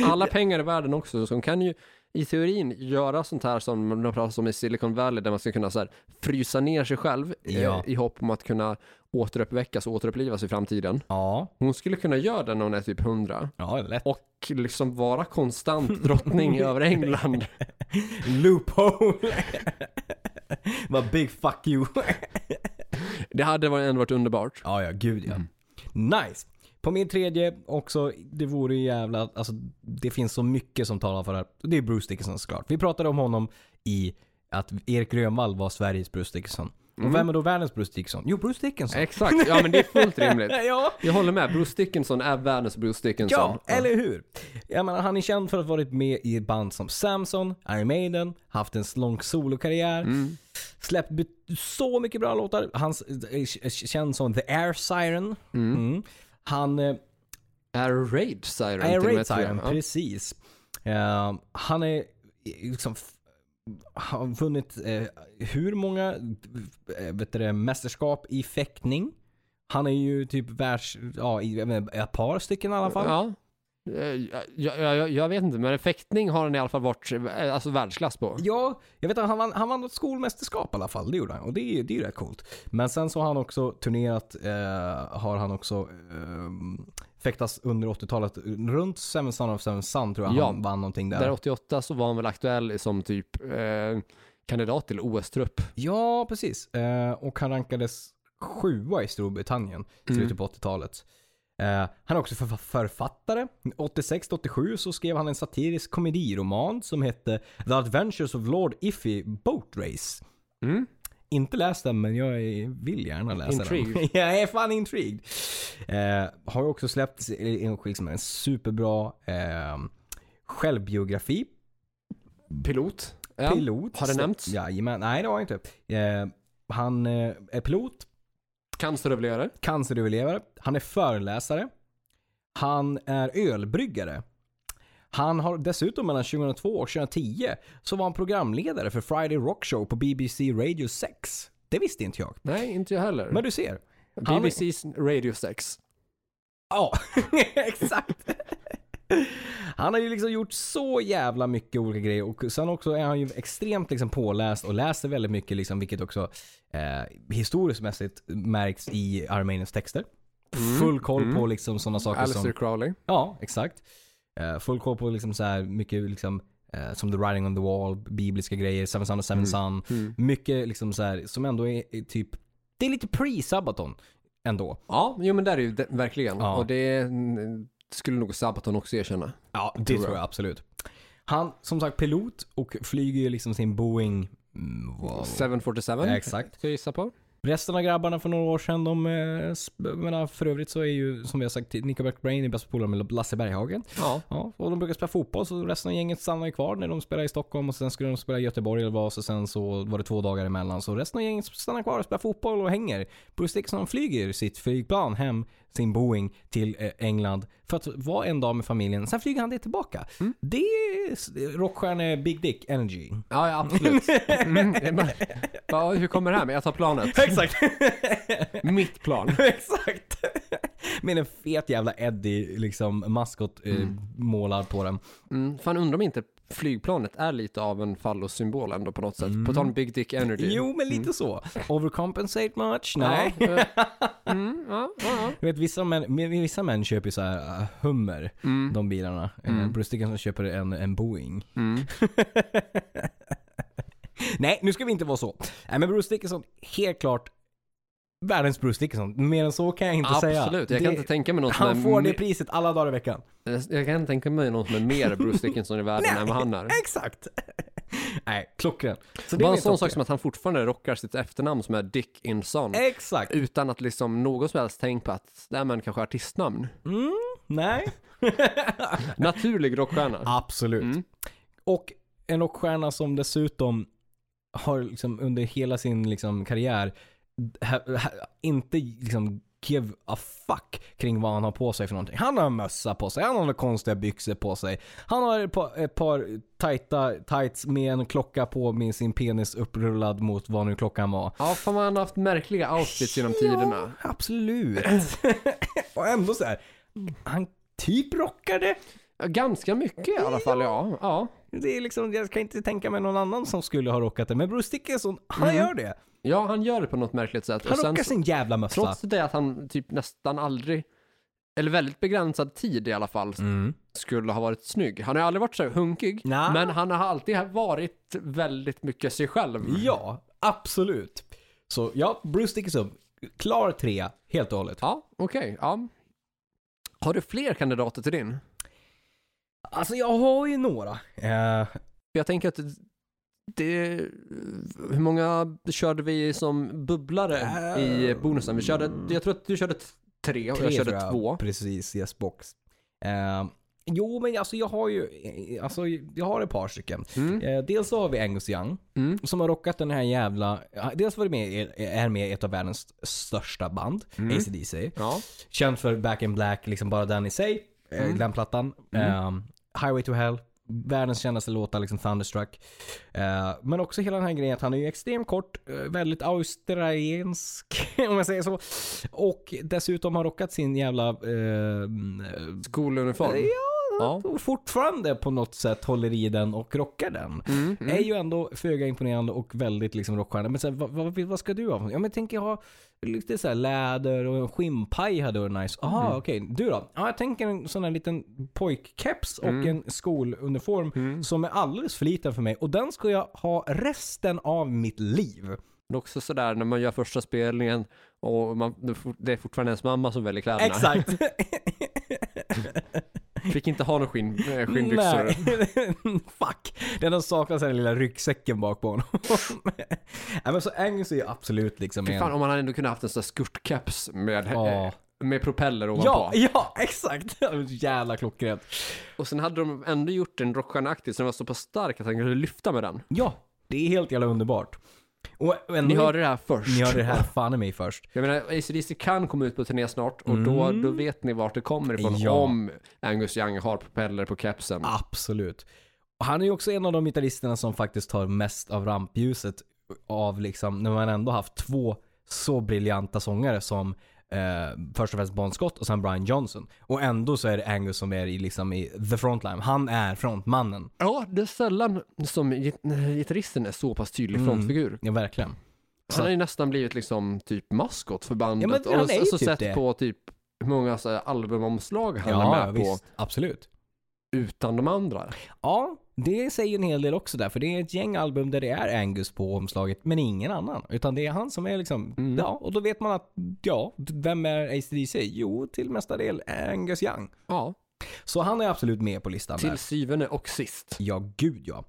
Speaker 1: Alla pengar i världen också, så de kan ju i teorin göra sånt här som de pratar om i Silicon Valley, där man ska kunna så här, frysa ner sig själv eh,
Speaker 2: Ja.
Speaker 1: i hopp om att kunna återuppväckas och återupplivas i framtiden.
Speaker 2: Ja,
Speaker 1: Hon skulle kunna göra det när hon är typ 100
Speaker 2: ja lätt.
Speaker 1: och liksom vara konstant drottning över England.
Speaker 2: Loophole! Vad big fuck you.
Speaker 1: Det hade varit- ändå varit underbart.
Speaker 2: ja, ja, gud ja. Nice. På min tredje också, det vore ju jävla, alltså det finns så mycket som talar för det här. Det är Bruce Dickinson såklart. Vi pratade om honom i att Erik Grönvall var Sveriges Bruce Dickinson. Och vem är då världens Bruce Dickinson? Jo, Bruce Dickinson.
Speaker 1: Exakt, ja men det är fullt rimligt.
Speaker 2: Eh, ja.
Speaker 1: Jag håller med, Bruce Dickinson är världens Bruce Dickinson.
Speaker 2: Ja, eller hur? Jag menar, han är känd för att ha varit med i band som Samson, Iron Maiden, haft en lång solokarriär, släppt bet- så mycket bra låtar. Han är känd som The Air Siren. Mm. Han eh,
Speaker 1: Är Raid Siren
Speaker 2: Air
Speaker 1: till och med,
Speaker 2: Raid
Speaker 1: tror jag.
Speaker 2: Siren,
Speaker 1: Ja.
Speaker 2: precis. Eh, han är liksom f- har vunnit eh, hur många eh, vet du, det, mästerskap i fäktning. Han är ju typ världs... Ja, i, jag menar, ett par stycken i alla fall.
Speaker 1: Ja. Eh, Jag, jag, jag, jag vet inte, men fäktning har han i alla fall varit eh, alltså, världsklass på.
Speaker 2: Ja, jag vet att han vann, han vann något skolmästerskap i alla fall. Det gjorde han. Och det, är- det är ju rätt coolt. Men sen så har han också turnerat, eh, har han också eh, fäktats under 80-talet. Runt Seven Son of Seven Son tror jag
Speaker 1: Ja.
Speaker 2: han vann någonting där.
Speaker 1: Där 88 så var han väl aktuell som typ eh, kandidat till OS-trupp.
Speaker 2: Ja, precis. Eh, och han rankades sjua i Storbritannien i slutet på 80-talet. Eh, han är också förf- författare. 86-87 så skrev han en satirisk komediroman som hette The Adventures of Lord Iffy Boat Race.
Speaker 1: Mm.
Speaker 2: Inte läst den, men jag är- vill gärna läsa den.
Speaker 1: Intrigued.
Speaker 2: jag är fan intrigued. Eh, har ju också släppt en, liksom en superbra eh, självbiografi.
Speaker 1: Pilot. Ja.
Speaker 2: Pilot.
Speaker 1: Har det nämnts?
Speaker 2: Jajamän. Nej, det har jag inte. Eh, han eh, är pilot,
Speaker 1: Canceröverlevare.
Speaker 2: canceröverlevare. Han är föreläsare. Han är ölbryggare. Han har dessutom mellan 2002 och 2010 så var han programledare för Friday Rock Show på BBC Radio 6. Det visste inte jag.
Speaker 1: Nej, inte jag heller.
Speaker 2: Men du ser. han är-
Speaker 1: BBC's Radio 6.
Speaker 2: Ja, exakt. Han har ju liksom gjort så jävla mycket olika grejer och sen också är han ju extremt liksom påläst och läser väldigt mycket liksom, vilket också eh, historiskt mässigt märks i Armeniens texter. Full koll på liksom sådana saker som...
Speaker 1: Alistair Crowley.
Speaker 2: Ja, exakt. Eh, full koll på liksom så här mycket liksom, eh, som The Writing on the Wall, bibliska grejer, Seven Sun och Seven Sun. Mycket liksom så här, som ändå är, är typ... Det är lite pre-Sabaton ändå.
Speaker 1: Ja, jo men där är ju det, verkligen.
Speaker 2: Ja.
Speaker 1: Och det mm, skulle nog Sabaton också erkänna.
Speaker 2: Ja, det tror jag absolut. Han, som sagt, pilot och flyger ju liksom sin Boeing... Mm, wow.
Speaker 1: 747.
Speaker 2: Exakt.
Speaker 1: Ska jag gissa på?
Speaker 2: Resten av grabbarna för några år sedan, de... eh, sp- jag menar, för övrigt så är ju, som vi har sagt, Nickelback Brain är bästa polare med Lasse Berghagen.
Speaker 1: Ja.
Speaker 2: Ja, och de brukar spela fotboll så resten av gänget stannar ju kvar när de spelar i Stockholm och sen skulle de spela i Göteborg eller vad och sen så var det två dagar emellan. Så resten av gänget stannar kvar och spelar fotboll och hänger. Bruce Dickinson flyger sitt flygplan hem, sin Boeing, till eh, England för att vara en dag med familjen. Sen flyger han det tillbaka. Det är s- eh, rockstjärne Big Dick Energy.
Speaker 1: Ja, ja absolut. Mm, det är bara, bara, hur kommer det här med? Jag tar planet.
Speaker 2: Exakt!
Speaker 1: Mitt plan.
Speaker 2: Exakt! Med en fet jävla Eddie liksom maskot eh, målad på den.
Speaker 1: Mm, fan undrar om inte flygplanet är lite av en fallossymbol ändå på något sätt.
Speaker 2: Mm.
Speaker 1: På tal om Big Dick Energy.
Speaker 2: Jo, men lite så. Overcompensate much?
Speaker 1: Ja,
Speaker 2: mm. Nej.
Speaker 1: eh, mm, ja, ja, ja.
Speaker 2: Du vet, vissa män, men vissa män köper ju så här äh, Hummer,
Speaker 1: Mm,
Speaker 2: de bilarna.
Speaker 1: Mm.
Speaker 2: Mm. Bruce Dickinson köper en, en Boeing.
Speaker 1: mm.
Speaker 2: Nej, nu ska vi inte vara så. Nej, men Bruce Dickinson, helt klart världens Bruce Dickinson. Mer än så kan jag inte säga.
Speaker 1: Absolut, jag kan
Speaker 2: Det-
Speaker 1: inte tänka mig någon som är
Speaker 2: Han får det
Speaker 1: me-
Speaker 2: priset alla dagar i veckan.
Speaker 1: jag kan inte tänka mig någon som är mer Bruce Dickinson i världen än vad han är.
Speaker 2: Exakt! Nej, klockren. Så det är
Speaker 1: Bara en
Speaker 2: min
Speaker 1: sån
Speaker 2: topp
Speaker 1: sak
Speaker 2: tre. Eh.
Speaker 1: som att han fortfarande rockar sitt efternamn som är Dickinson.
Speaker 2: Exakt.
Speaker 1: Utan att liksom någon som helst tänk på att det här man kanske är artistnamn.
Speaker 2: Mm, nej.
Speaker 1: Naturlig rockstjärna.
Speaker 2: Absolut.
Speaker 1: Mm.
Speaker 2: Och en rockstjärna som dessutom har liksom under hela sin liksom karriär ha, ha, inte liksom give a fuck kring vad han har på sig för någonting. Han har en mössa på sig, han har några konstiga byxor på sig. Han har ett par, ett par tajta tights med en klocka på med sin penis upprullad mot vad nu klockan var.
Speaker 1: Ja, fan man har haft märkliga outfits genom tiderna.
Speaker 2: Ja, absolut. och ändå så här. han typ rockar det.
Speaker 1: Ja, Ganska mycket i alla fall, ja. ja.
Speaker 2: Det är liksom, jag kan inte tänka mig någon annan som skulle ha rockat det, men Bruce Dickinson, han gör det.
Speaker 1: Ja, han gör det på något märkligt sätt. Mm.
Speaker 2: Han
Speaker 1: Och sen,
Speaker 2: rockar sin jävla mössa.
Speaker 1: trots det att han typ nästan aldrig, eller väldigt begränsad tid i alla fall,
Speaker 2: Mm.
Speaker 1: skulle ha varit snygg. Han har ju aldrig varit så här hunkig,
Speaker 2: Nja.
Speaker 1: men han har alltid varit väldigt mycket sig själv.
Speaker 2: Ja, absolut. Så ja, Bruce Dickinson, klar trea, helt och hållet.
Speaker 1: Ja, okej. ja. Har du fler kandidater till din?
Speaker 2: Alltså jag har ju några. Eh,
Speaker 1: För jag tänker att det, hur många körde vi som bubblare
Speaker 2: Äh,
Speaker 1: i bonusen? Vi körde, jag tror att du körde t- tre och
Speaker 2: mm. tre
Speaker 1: jag körde
Speaker 2: tror jag.
Speaker 1: två.
Speaker 2: Precis, yes box. Eh, jo, men alltså jag har ju, eh, alltså jag har ett par stycken.
Speaker 1: Mm.
Speaker 2: Eh, dels så har vi Angus Young,
Speaker 1: Mm.
Speaker 2: som har rockat den här jävla, dels var det med, i- är med i ett av världens största band,
Speaker 1: Mm.
Speaker 2: AC/DC.
Speaker 1: Ja.
Speaker 2: Känd för Back in Black, liksom bara den i sig. eh,
Speaker 1: Mm.
Speaker 2: Den plattan. Ehm, Highway to Hell. Världens kändaste låtar, liksom Thunderstruck. Eh, men också hela den här grejen att han är ju extremt kort, eh, väldigt australiensk om jag säger så. Och dessutom har rockat sin jävla... eh,
Speaker 1: Skoluniform.
Speaker 2: ja, och fortfarande på något sätt håller i den och rockar den.
Speaker 1: Mm. Mm.
Speaker 2: Är ju ändå föga imponerande och väldigt liksom rockstjärna. Men så här, vad, vad, vad ska du ha? Ja men jag tänker ha lite så här läder och en skinnpaj hade varit nice. Aha,
Speaker 1: Mm.
Speaker 2: okej. Du då? Ja, jag tänker en sån här liten pojkkeps och
Speaker 1: Mm.
Speaker 2: en skoluniform som är alldeles för liten för mig. Och den ska jag ha resten av mitt liv.
Speaker 1: Men också sådär när man gör första spelningen och man, det är fort- det är fortfarande ens mamma som väljer kläderna.
Speaker 2: Exakt.
Speaker 1: Fick inte ha någon skinn, eh, skinnbyxor.
Speaker 2: Nej. Fuck. Det enda som saknas är den lilla ryggsäcken bak på honom. Nej men så Angus är ju absolut liksom
Speaker 1: Fy
Speaker 2: en-
Speaker 1: fan om man hade ändå kunnat haft en sån där skurtkeps med,
Speaker 2: Ja.
Speaker 1: eh, med propeller ovanpå.
Speaker 2: Ja, ja, exakt. Jävla klockrent.
Speaker 1: Och sen hade de ändå gjort en rockstjärneaktig så den var så pass stark att han kunde lyfta med den.
Speaker 2: Ja, det är helt jävla underbart. Och, och ändå,
Speaker 1: Ni hörde det här först.
Speaker 2: ni hörde det här fan i mig först.
Speaker 1: Mm. Jag menar, ACDC kan komma ut på turné snart och då, då vet ni vart det kommer ifrån
Speaker 2: Mm. Ja. Ah.
Speaker 1: om Angus Young har propeller på kepsen.
Speaker 2: Absolut. Och han är ju också en av de gitarristerna som faktiskt tar mest av rampljuset av liksom, när man ändå haft två så briljanta sångare som eh, först och främst Bon Scott och sen Brian Johnson. Och ändå så är det Angus som är i, liksom i the frontline. Han är frontmannen.
Speaker 1: Ja, det är sällan som git- eh, gitarristen är så pass tydlig
Speaker 2: Mm.
Speaker 1: frontfigur.
Speaker 2: Ja, verkligen.
Speaker 1: Han har ju nästan blivit liksom typ maskot för bandet.
Speaker 2: Ja, men han
Speaker 1: och
Speaker 2: är ju
Speaker 1: alltså
Speaker 2: typ
Speaker 1: sett
Speaker 2: det.
Speaker 1: på typ hur många så här, albumomslag han är
Speaker 2: Ja,
Speaker 1: med på
Speaker 2: visst. Absolut.
Speaker 1: utan de andra.
Speaker 2: Ja, det säger en hel del också där. För det är ett gäng album där det är Angus på omslaget, men ingen annan. Utan det är han som är liksom, ja, och då vet man att, ja, vem är ACDC? Jo, till mesta del Angus Young.
Speaker 1: Ja,
Speaker 2: Så han är absolut med på listan där.
Speaker 1: till syvende och sist.
Speaker 2: Ja, gud ja.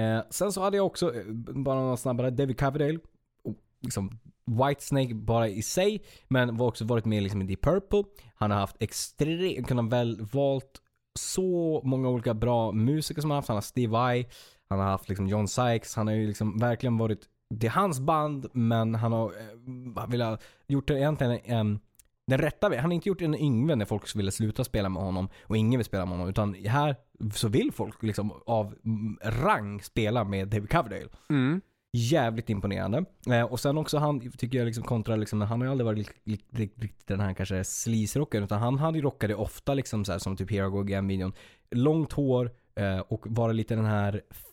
Speaker 2: Eh, sen så hade jag också, eh, bara några snabbare, David Coverdale. Och Liksom Whitesnake bara i sig, men var också varit med liksom i Deep Purple. Han har haft extremt, kunnat väl valt så många olika bra musiker som han har haft. Han har Steve Vai, han har haft liksom John Sykes. Han har ju liksom verkligen varit, det är hans band, men han har eh, velat, gjort det egentligen en den rätta vägen. Han har inte gjort en Yngve när folk ville sluta spela med honom och ingen vill spela med honom. Utan här så vill folk liksom av mm, rang spela med David Coverdale.
Speaker 1: Mm.
Speaker 2: Jävligt imponerande. Eh, och sen också han, tycker jag liksom kontra, liksom, han har ju aldrig varit lik- lik- lik- riktigt den här kanske sleaze-rockaren. Utan han hade ju rockade ofta liksom så här, som typ Here I Go Again-videon. Långt hår, eh, och vara lite den här, f-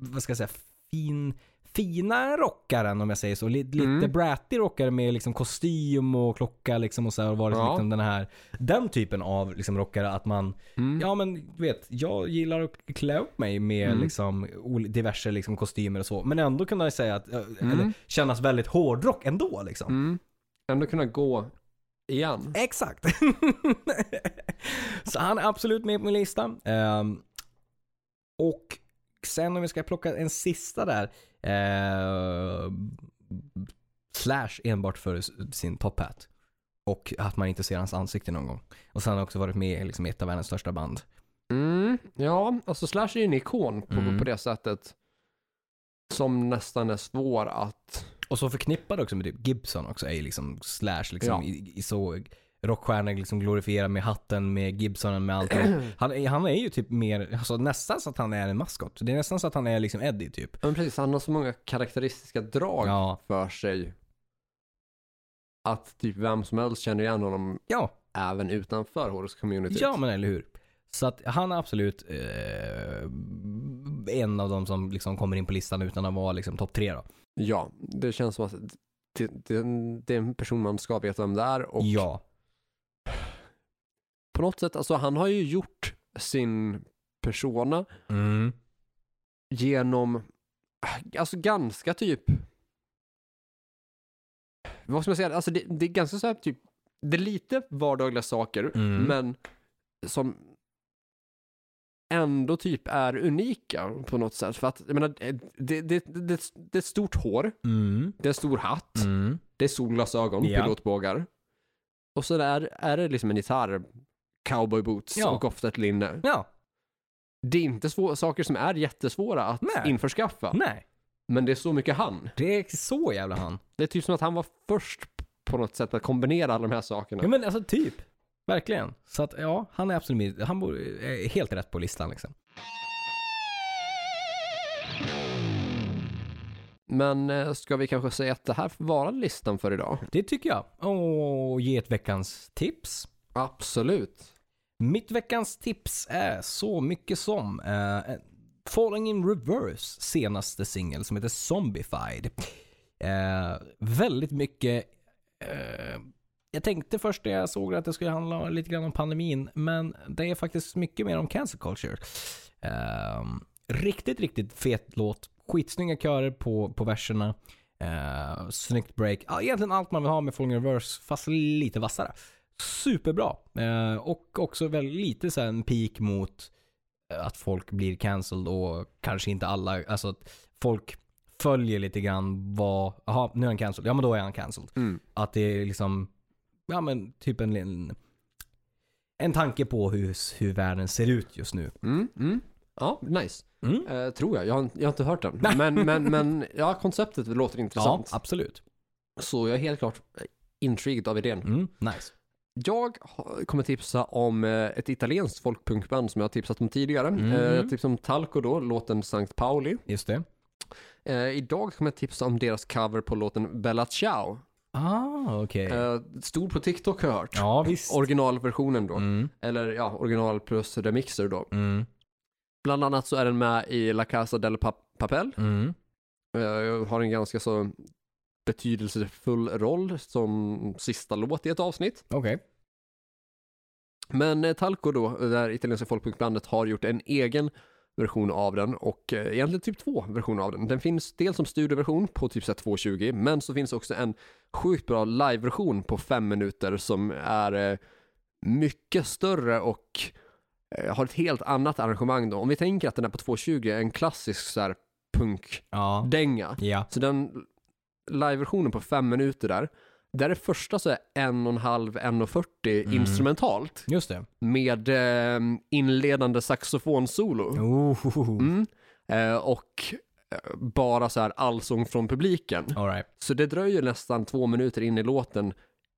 Speaker 2: vad ska jag säga, fin, fina rockaren om jag säger så. Li- Lite
Speaker 1: Mm.
Speaker 2: bratty rockare med liksom kostym och klocka liksom och så här, och varit
Speaker 1: Ja.
Speaker 2: liksom den här, den typen av liksom rockare att man
Speaker 1: Mm.
Speaker 2: Ja men du vet, jag gillar att klä upp mig med
Speaker 1: Mm.
Speaker 2: liksom, ol- diverse liksom, kostymer och så. Men ändå kunna jag säga att, eh,
Speaker 1: Mm.
Speaker 2: eller kännas väldigt hårdrock ändå liksom.
Speaker 1: Mm. Ändå kunna gå igen.
Speaker 2: Exakt. så han är absolut med på min lista. Ehm, och sen om vi ska plocka en sista där. ehm, slash enbart för s- sin top hat. Och att man inte ser hans ansikte någon gång. Och sen har han också varit med i liksom, ett av världens största band.
Speaker 1: Mm. Ja, alltså Slash är ju en ikon på,
Speaker 2: Mm.
Speaker 1: på det sättet. Som nästan är svår att...
Speaker 2: Och så förknippad också med typ Gibson också är ju liksom slash
Speaker 1: Ja.
Speaker 2: liksom i, i så rockstjärna liksom glorifierar med hatten med Gibsonen med allt. Han, är- han är ju typ mer, alltså nästan så att han är en maskot. Det är nästan så att han är liksom Eddie typ.
Speaker 1: Men precis, han har så många karaktäristiska drag
Speaker 2: Ja,
Speaker 1: för sig. Att typ vem som helst känner igen honom
Speaker 2: ja,
Speaker 1: även utanför Horus community.
Speaker 2: ja men eller hur. Så att han är absolut eh, en av de som liksom kommer in på listan utan att vara liksom topp tre då.
Speaker 1: ja, det känns som att det, det, det är en person man ska veta vem det är och
Speaker 2: Ja,
Speaker 1: på något sätt, alltså han har ju gjort sin persona
Speaker 2: mm.
Speaker 1: genom, alltså ganska typ, vad ska man säga, alltså det, det är ganska så här typ, det är lite vardagliga saker,
Speaker 2: Mm.
Speaker 1: men som ändå typ är unika på något sätt. För att, jag menar, eh, det, det, det, det, det är ett stort hår,
Speaker 2: Mm.
Speaker 1: det är en stor hatt,
Speaker 2: Mm.
Speaker 1: det är solglasögon,
Speaker 2: Ja.
Speaker 1: pilotbågar. Och så där är det liksom en gitarr, cowboyboots
Speaker 2: Ja.
Speaker 1: och ofta ett linne
Speaker 2: ja,
Speaker 1: det är inte svå- saker som är jättesvåra att
Speaker 2: Nej.
Speaker 1: införskaffa.
Speaker 2: nej.
Speaker 1: Men det är så mycket han.
Speaker 2: Det är så jävla han.
Speaker 1: Det är typ som att han var först på något sätt att kombinera alla de här sakerna.
Speaker 2: Ja men alltså typ. Verkligen. Så att ja, han är absolut han bor, är helt rätt på listan liksom.
Speaker 1: Men eh, ska vi kanske säga att det här får vara listan för idag?
Speaker 2: Det tycker jag. Och ge ett veckans tips.
Speaker 1: Absolut.
Speaker 2: Mitt veckans tips är så mycket som eh, Falling in Reverse senaste singel som heter Zombified. Eh, väldigt mycket eh, jag tänkte först när jag såg det att det skulle handla lite grann om pandemin, men det är faktiskt mycket mer om cancer culture. Ehm, riktigt, riktigt fet låt. Skitsnygga körer på, på verserna. Uh, snyggt break. Ja, egentligen allt man vill ha med Falling in Reverse, fast lite vassare. Superbra. Eh, och också väl lite så här en peak mot eh, att folk blir cancelled och kanske inte alla, alltså att folk följer lite grann vad, jaha, nu är han cancelled, ja men då är han cancelled.
Speaker 1: Mm.
Speaker 2: Att det är liksom, ja men typ en, en, en tanke på hur, hur världen ser ut just nu.
Speaker 1: Mm, mm. Ja, nice.
Speaker 2: Mm.
Speaker 1: Eh, tror jag. Jag har, jag har inte hört den. Men, men, men ja, konceptet låter
Speaker 2: Ja,
Speaker 1: intressant.
Speaker 2: absolut.
Speaker 1: Så jag är helt klart eh, intrigued av idén.
Speaker 2: Mm, nice.
Speaker 1: Jag har- kommer tipsa om eh, ett italienskt folkpunkband som jag har tipsat om tidigare.
Speaker 2: Mm.
Speaker 1: Eh, Jag tipsade om Talco då, låten Sankt Pauli.
Speaker 2: Just det.
Speaker 1: Eh, idag kommer jag tipsa om deras cover på låten Bella Ciao.
Speaker 2: Ah, okej.
Speaker 1: Eh, stor på TikTok har jag hört.
Speaker 2: Ja, visst.
Speaker 1: Originalversionen då.
Speaker 2: Mm,
Speaker 1: Eller ja, original plus remixer då.
Speaker 2: mm,
Speaker 1: Bland annat så är den med i La Casa del Pa- Papel.
Speaker 2: mm,
Speaker 1: Eh, jag har en ganska så betydelsefull roll som sista låt i ett avsnitt.
Speaker 2: okej.
Speaker 1: Men eh, Talco då, det här italienska folkpunkbandet, har gjort en egen version av den och eh, egentligen typ två versioner av den. Den finns dels som studioversion på typ så här 2.20 men så finns också en sjukt bra liveversion på fem minuter som är eh, mycket större och eh, har ett helt annat arrangemang då. Om vi tänker att den är på 2.20 är en klassisk så här punkdänga.
Speaker 2: Ja. Ja.
Speaker 1: Så den liveversionen på fem minuter där, där är första så är en och en halv, en och 40
Speaker 2: Mm.
Speaker 1: instrumentalt
Speaker 2: Just det.
Speaker 1: med eh, inledande saxofonsolo.
Speaker 2: Oh.
Speaker 1: Mm. Eh, och eh, bara så här allsång från publiken.
Speaker 2: All right.
Speaker 1: Så det dröjer nästan två minuter in i låten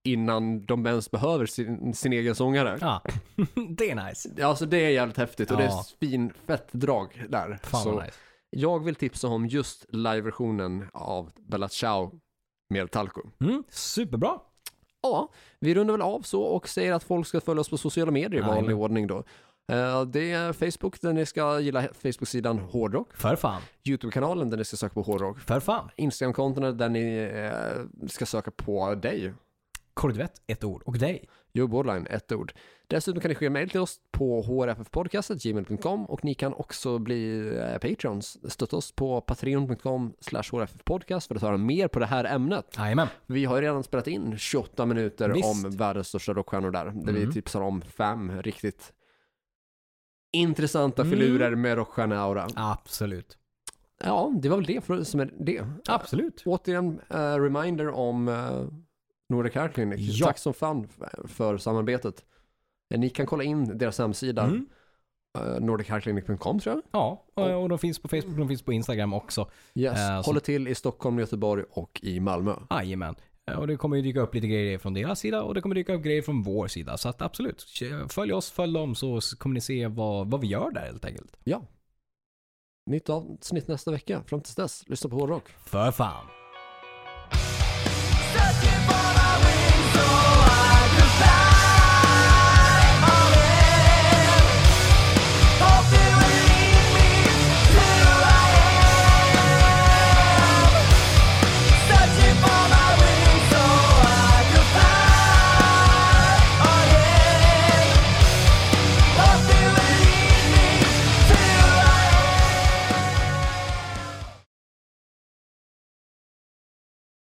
Speaker 1: innan de ens behöver sin, sin egen sångare.
Speaker 2: Ah. det är nice.
Speaker 1: Alltså det är jävligt häftigt och det
Speaker 2: Ja.
Speaker 1: är finfett drag där.
Speaker 2: Fan
Speaker 1: så
Speaker 2: vad nice.
Speaker 1: Jag vill tipsa om just liveversionen av Bella Ciao med Talco.
Speaker 2: Mm, superbra.
Speaker 1: Ja, vi rundar väl av så och säger att folk ska följa oss på sociala medier i vanlig
Speaker 2: Jajamän.
Speaker 1: ordning då. Eh, Eh, Det är Facebook där ni ska gilla Facebook-sidan Hårdrock,
Speaker 2: För fan.
Speaker 1: YouTube-kanalen där ni ska söka på Hårdrock,
Speaker 2: För fan.
Speaker 1: Instagram-kontona där ni eh, ska söka på dig,
Speaker 2: Korvett, ett ord. Och dig.
Speaker 1: Joe Bordline, ett ord. Dessutom kan ni skicka mejl till oss på hrffpodcastet.gmail.com och ni kan också bli eh, Patreons. Stötta oss på patreon.com slash hrffpodcast för att höra mer på det här ämnet.
Speaker 2: Jajamän.
Speaker 1: Vi har ju redan spelat in 28 minuter
Speaker 2: Visst.
Speaker 1: om världens största rockstjärnor där. Där
Speaker 2: Mm.
Speaker 1: vi tipsar om fem riktigt intressanta
Speaker 2: Mm.
Speaker 1: filurer med rockstjärneaura.
Speaker 2: Absolut.
Speaker 1: Ja, det var väl det för, som är det.
Speaker 2: Absolut.
Speaker 1: Återigen, eh, reminder om uh, Nordic Hair Clinic.
Speaker 2: Ja.
Speaker 1: Tack som fan f- för samarbetet. Eh, Ni kan kolla in deras hemsida,
Speaker 2: Mm.
Speaker 1: eh, nordichairclinic.com tror jag.
Speaker 2: Ja, eh, och, och de finns på Facebook, de finns på Instagram också.
Speaker 1: Yes.
Speaker 2: Eh, så-
Speaker 1: Håller till i Stockholm, Göteborg och i Malmö.
Speaker 2: Jajamän. Eh, Och det kommer ju dyka upp lite grejer från deras sida och det kommer dyka upp grejer från vår sida. Så att absolut, följ oss, följ dem så kommer ni se vad, vad vi gör där helt enkelt.
Speaker 1: Nytt avsnitt nästa vecka. Fram tills dess, lyssna på hårdrock.
Speaker 2: För fan.